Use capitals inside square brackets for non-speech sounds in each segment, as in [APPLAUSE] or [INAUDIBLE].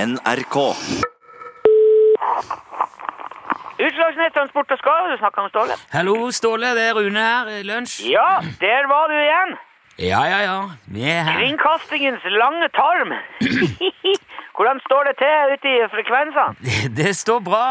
NRK. Utslagsnett Transport og Skade, du snakker om Ståle. Hallo, Ståle. Det er Rune her. Lunsj. Ja, der var du igjen. Ja, ja, ja. Vi er her. Kringkastingens lange tarm. Hvordan står det til ute i frekvensene? [LAUGHS] Det står bra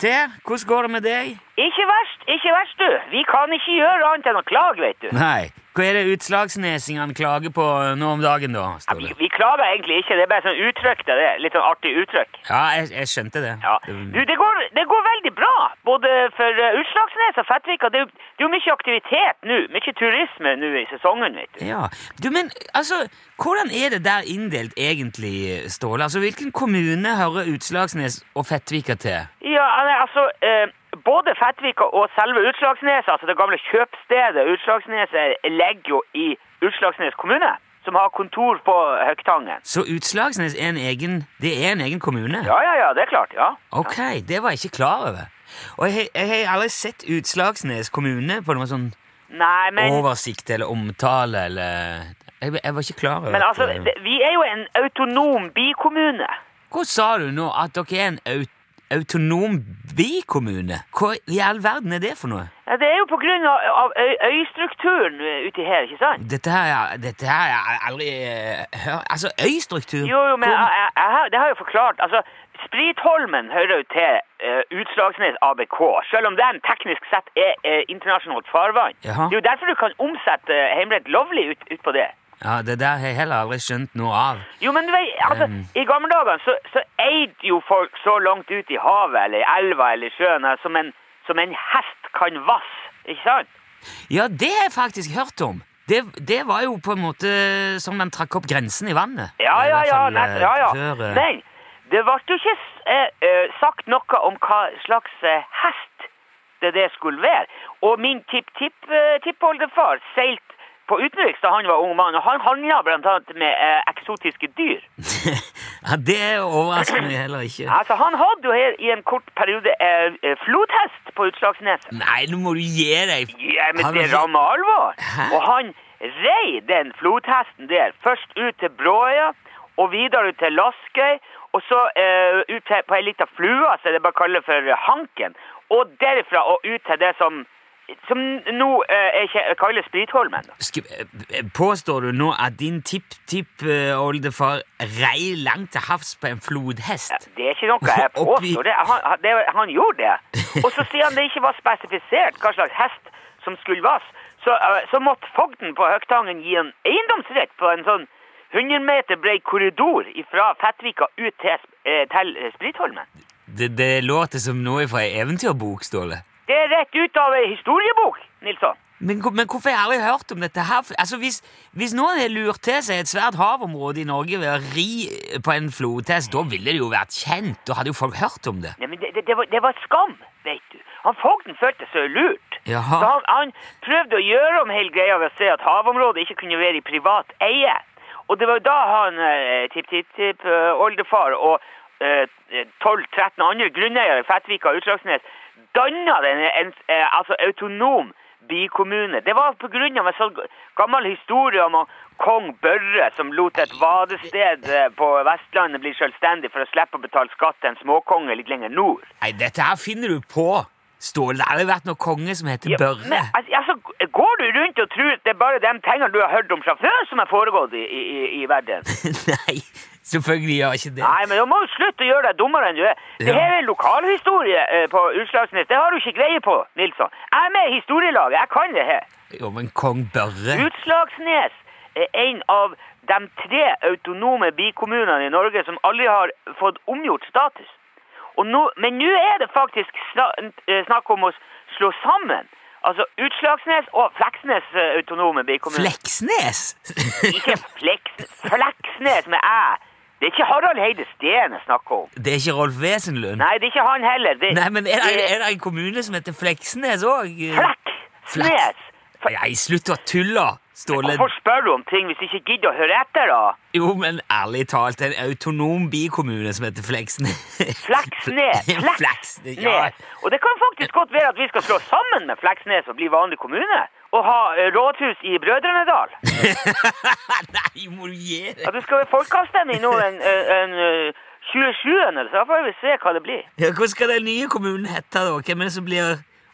til. Hvordan går det med deg? Ikke verst, ikke verst, du. Vi kan ikke gjøre annet enn å klage, vet du. Nei. Hva er det utslagsnesingene klager på eh, nå om dagen, da? Ja, vi, Ståle? vi klager egentlig ikke, det er bare sånn uttrykk det er. Litt sånn artig uttrykk. Ja, jeg, jeg skjønte det. Ja. Du, det går, det går veldig bra, både for eh, Utslagsnes og Fettvika. Det, er jo- det er jo mye aktivitet nå, mye turisme nå i sesongen, vet du. Ja. Du, men altså, hvordan er det der inndelt egentlig, Ståle? Altså, Hvilken kommune hører Utslagsnes og Fettvika til? Ja, nei, altså, eh, både Fettvika og selve Utslagsneset, altså det gamle kjøpstedet Utslagsneset, legger jo i Utslagsnes kommune, som har kontor på Høgtangen. Så Utslagsnes er en egen, det er en egen kommune? Ja, ja, ja, det er klart, ja. Ok, det var jeg ikke klar over. Og jeg, har- jeg har aldri sett Utslagsnes kommune på noen sånn Nei, men, oversikt eller omtale eller Jeg, jeg var ikke klar over men at, altså, eh, det, vi er jo en autonom bikommune. Hva sa du nå? At dere er en au, autonom bikommune? Hva i all verden er det for noe? Ja, Det er jo på grunn av, av øy, øystrukturen eh, ute her, ikke sant? Dette her, er- dette her har jeg aldri eh, hørt Altså, øystruktur Jo, jo, men Hvor- jeg, jeg, jeg, har- det har jeg jo forklart. Altså, Spritholmen hører jo til eh, Utslagsnes ABK, selv om den teknisk sett er eh, internasjonalt farvann. Jaha. Det er jo derfor du kan omsette uh, Heimrett lovlig ut, ut på det. Ja, Det der har jeg heller aldri skjønt noe av. Jo, men du vet, altså, i gamle dager så, så eide jo folk så langt ut i havet eller i elva eller i sjøen her, som en, som en hest kan vasse, ikke sant? Ja, det har jeg faktisk hørt om. Det, det var jo på en måte som man trakk opp grensen i vannet. Ja, I ja, hvert ja, fall, nett, eh, ja, ja. Før, eh, Men det ble jo ikke eh, eh, sagt noe om hva slags eh, hest det, det skulle være. Og min tipp-tipp-tippoldefar seilte på utenriks da han var ung mann, og han handla blant annet med eh, eksotiske dyr. [LAUGHS] ja, det overrasker meg heller ikke. Altså, han hadde jo her i en kort periode eh, eh, flodhest på Utslagsneset. Nei, nå må du gi deg! Ja, men Han- det rammer alvor. Hæ? Og han rei den flodhesten der, først ut til Bråøya, og videre ut til Laskøy, og så eh, ut til, på ei lita flue, som det bare kaller for Hanken, og derifra og ut til det som, som nå eh, er kje- kalles Spritholmen. da. Sk- eh, Påstår du nå at din tipp-tipp-oldefar rei langt til havs på en flodhest? Det er ikke noe jeg Oppi- påstår. Det, han, han- det, han gjorde det. Og så sier han det ikke var spesifisert hva slags hest som skulle vasse. Så, eh, så måtte fogden på Høgtangen gi en eiendomsrett på en sånn 100 meter brei korridor fra Fettvika ut til, sp- eh, til eh, Spritholmen. Det, det låter som noe fra ei eventyrbok, Ståle. Det er rett ut av ei historiebok, Nilsson. Men, hvor- men hvorfor har jeg aldri hørt om dette her? Altså, hvis, hvis noen har lurt til seg et svært havområde i Norge ved å ri eh, på en flodhest, da ville det jo vært kjent. Da hadde jo folk hørt om det. Nei, men det, det, det, var, det var skam, vet du. Han Fogden følte seg lurt. Jaha. Så han, han prøvde å gjøre om hele greia ved å se at havområdet ikke kunne være i privat eie. Og det var jo da han, eh, tipp-tipp-tipp, eh, oldefar og eh, 12-13 andre grunneiere i Fettvika og Utslagsnes danna den en, eh, altså autonom bikommune. Det var på grunn av en sånn gammel historie om han kong Børre som lot et vadested eh, på Vestlandet bli selvstendig for å slippe å betale skatt til en småkonge litt lenger nord. Nei, dette her finner du på, Ståle. Det har aldri vært noen konge som heter Ja, men, Børre. [LAUGHS] altså, altså, går du rundt og tror at det er bare de tingene du har hørt om fra før som har foregått i, i, i- i verden? Nei, selvfølgelig gjør jeg ikke det. Nei, men du må jo slutte å gjøre deg dummere enn du er. Det Ja. her er lokalhistorie eh, på Utslagsnes. Det har du ikke greie på, Nilsson. Jeg er med i historielaget. Jeg kan det her. Jo, men kong Børre Utslagsnes er en av de tre autonome bikommunene i Norge som aldri har fått omgjort status. Og nå, men nå er det faktisk sna- eh, snakk om å slå sammen. Altså Utslagsnes og Fleksnes eh, autonome bikommune. Fleksnes! [LAUGHS] Ikke Fleksnes, Fleksnes med æ. Det er ikke Harald Heide Steen jeg snakker om. Det er ikke Rolf Wesenlund. Nei, det er ikke han heller. Det, Nei, men er det, er det en kommune som heter Fleksnes òg? Fleksnes! For, Nei, slutt å tulle, Ståle. hvorfor spør du om ting hvis du ikke gidder å høre etter, da? Jo, men ærlig talt, en autonom bikommune som heter Fleksnes [LAUGHS] Fleksnes. Fleksnes, Fleksnes. ja. Og det kan faktisk godt være at vi skal slå sammen med Fleksnes og bli vanlig kommune. Og ha eh, rådhus i Brødrenedal. [LAUGHS] Nei, må du gi deg! At det skal være folkeavstemning nå en, en, en eh, 27., så da får vi se hva det blir. Ja, Hva skal den nye kommunen hete, da? Hvem er det som blir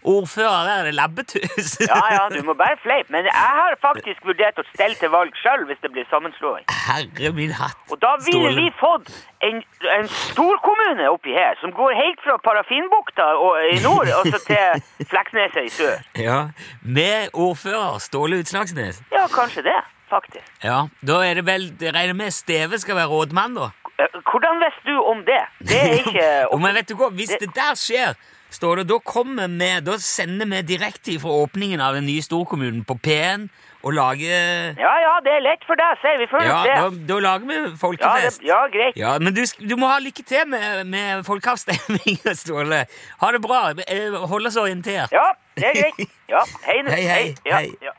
ordfører? Er det Labbetus? Ja, ja, du må bare fleipe. Men jeg har faktisk vurdert å stelle til valg sjøl hvis det blir sammenslåing. [LAUGHS] Herre min hatt. Og da ville Ståle. vi fått en, en storkommune oppi her, som går helt fra Parafinbukta og, eh, i nord og så til Fleksneset i sør. Ja, Med ordfører Ståle Utslagsnes. Ja, kanskje det, faktisk. Ja, Da er det vel jeg regner med Steve skal være rådmann, da? Eh, Hvordan visste du om det? Det er [LAUGHS] ikke Og men vet du hva, Hvis det der skjer, Ståle, da kommer vi, da sender vi direkte fra åpningen av den nye storkommunen på P1 og lager Ja, ja, det er lett for deg, sier vi. Får Ja, se. da, da lager vi Ja, det, folkefest. ja, greit. Ja, men du, sk- du må ha lykke til med, med folkeavstemninga, [LAUGHS] Ståle. Ha det bra. Eh, Hold oss orientert. Ja, det er greit. Ja, hei. nå. Hei, hei, Ja, hei. ja.